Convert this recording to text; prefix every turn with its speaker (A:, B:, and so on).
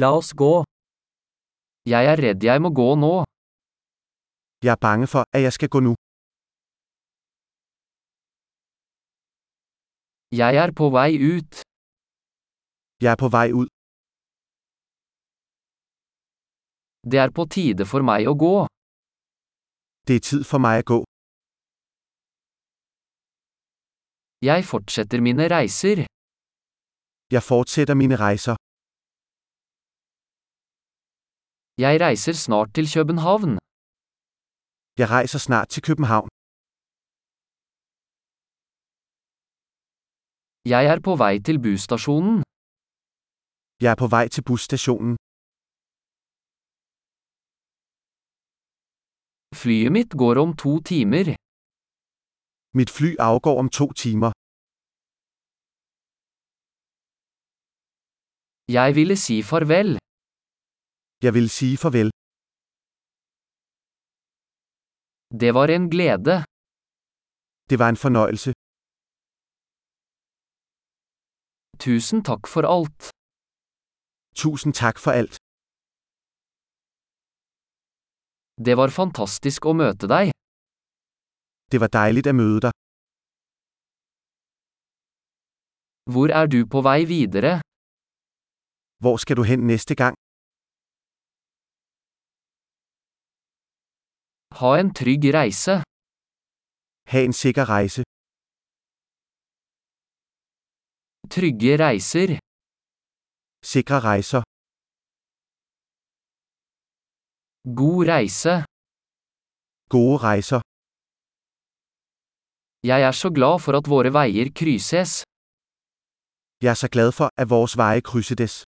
A: La oss gå. Jeg er redd jeg må gå nå.
B: Jeg er bange for, at jeg skal gå nu.
A: Jeg er på vei ut.
B: Jeg er på vei ut.
A: Det er på tide for meg å gå.
B: Det er tid for meg å gå.
A: Jeg fortsetter mine reiser.
B: Jeg fortsetter mine reiser.
A: Jeg reiser snart til København.
B: Jeg reiser snart til København.
A: Jeg er på vei til busstasjonen.
B: Jeg er på vei til busstasjonen.
A: Flyet mitt går om to timer.
B: Mit fly afgår om to timer.
A: Jeg ville si farvel.
B: Jeg vil sige farvel.
A: Det var en glede.
B: Det var en fornøjelse.
A: Tusen takk for alt.
B: Tusind tak for alt.
A: Det var fantastisk å møte deg.
B: Det var dejligt at møde dig.
A: Hvor er du på vei videre?
B: Hvor skal du hen næste gang?
A: Ha en trygg reise.
B: Ha en sikker rejse.
A: Trygge reiser.
B: Sikre rejser.
A: God reise.
B: Gode rejser.
A: Jeg er så glad for at våre veier krysses.
B: Jeg er så glad for, at vores veje krydsedes.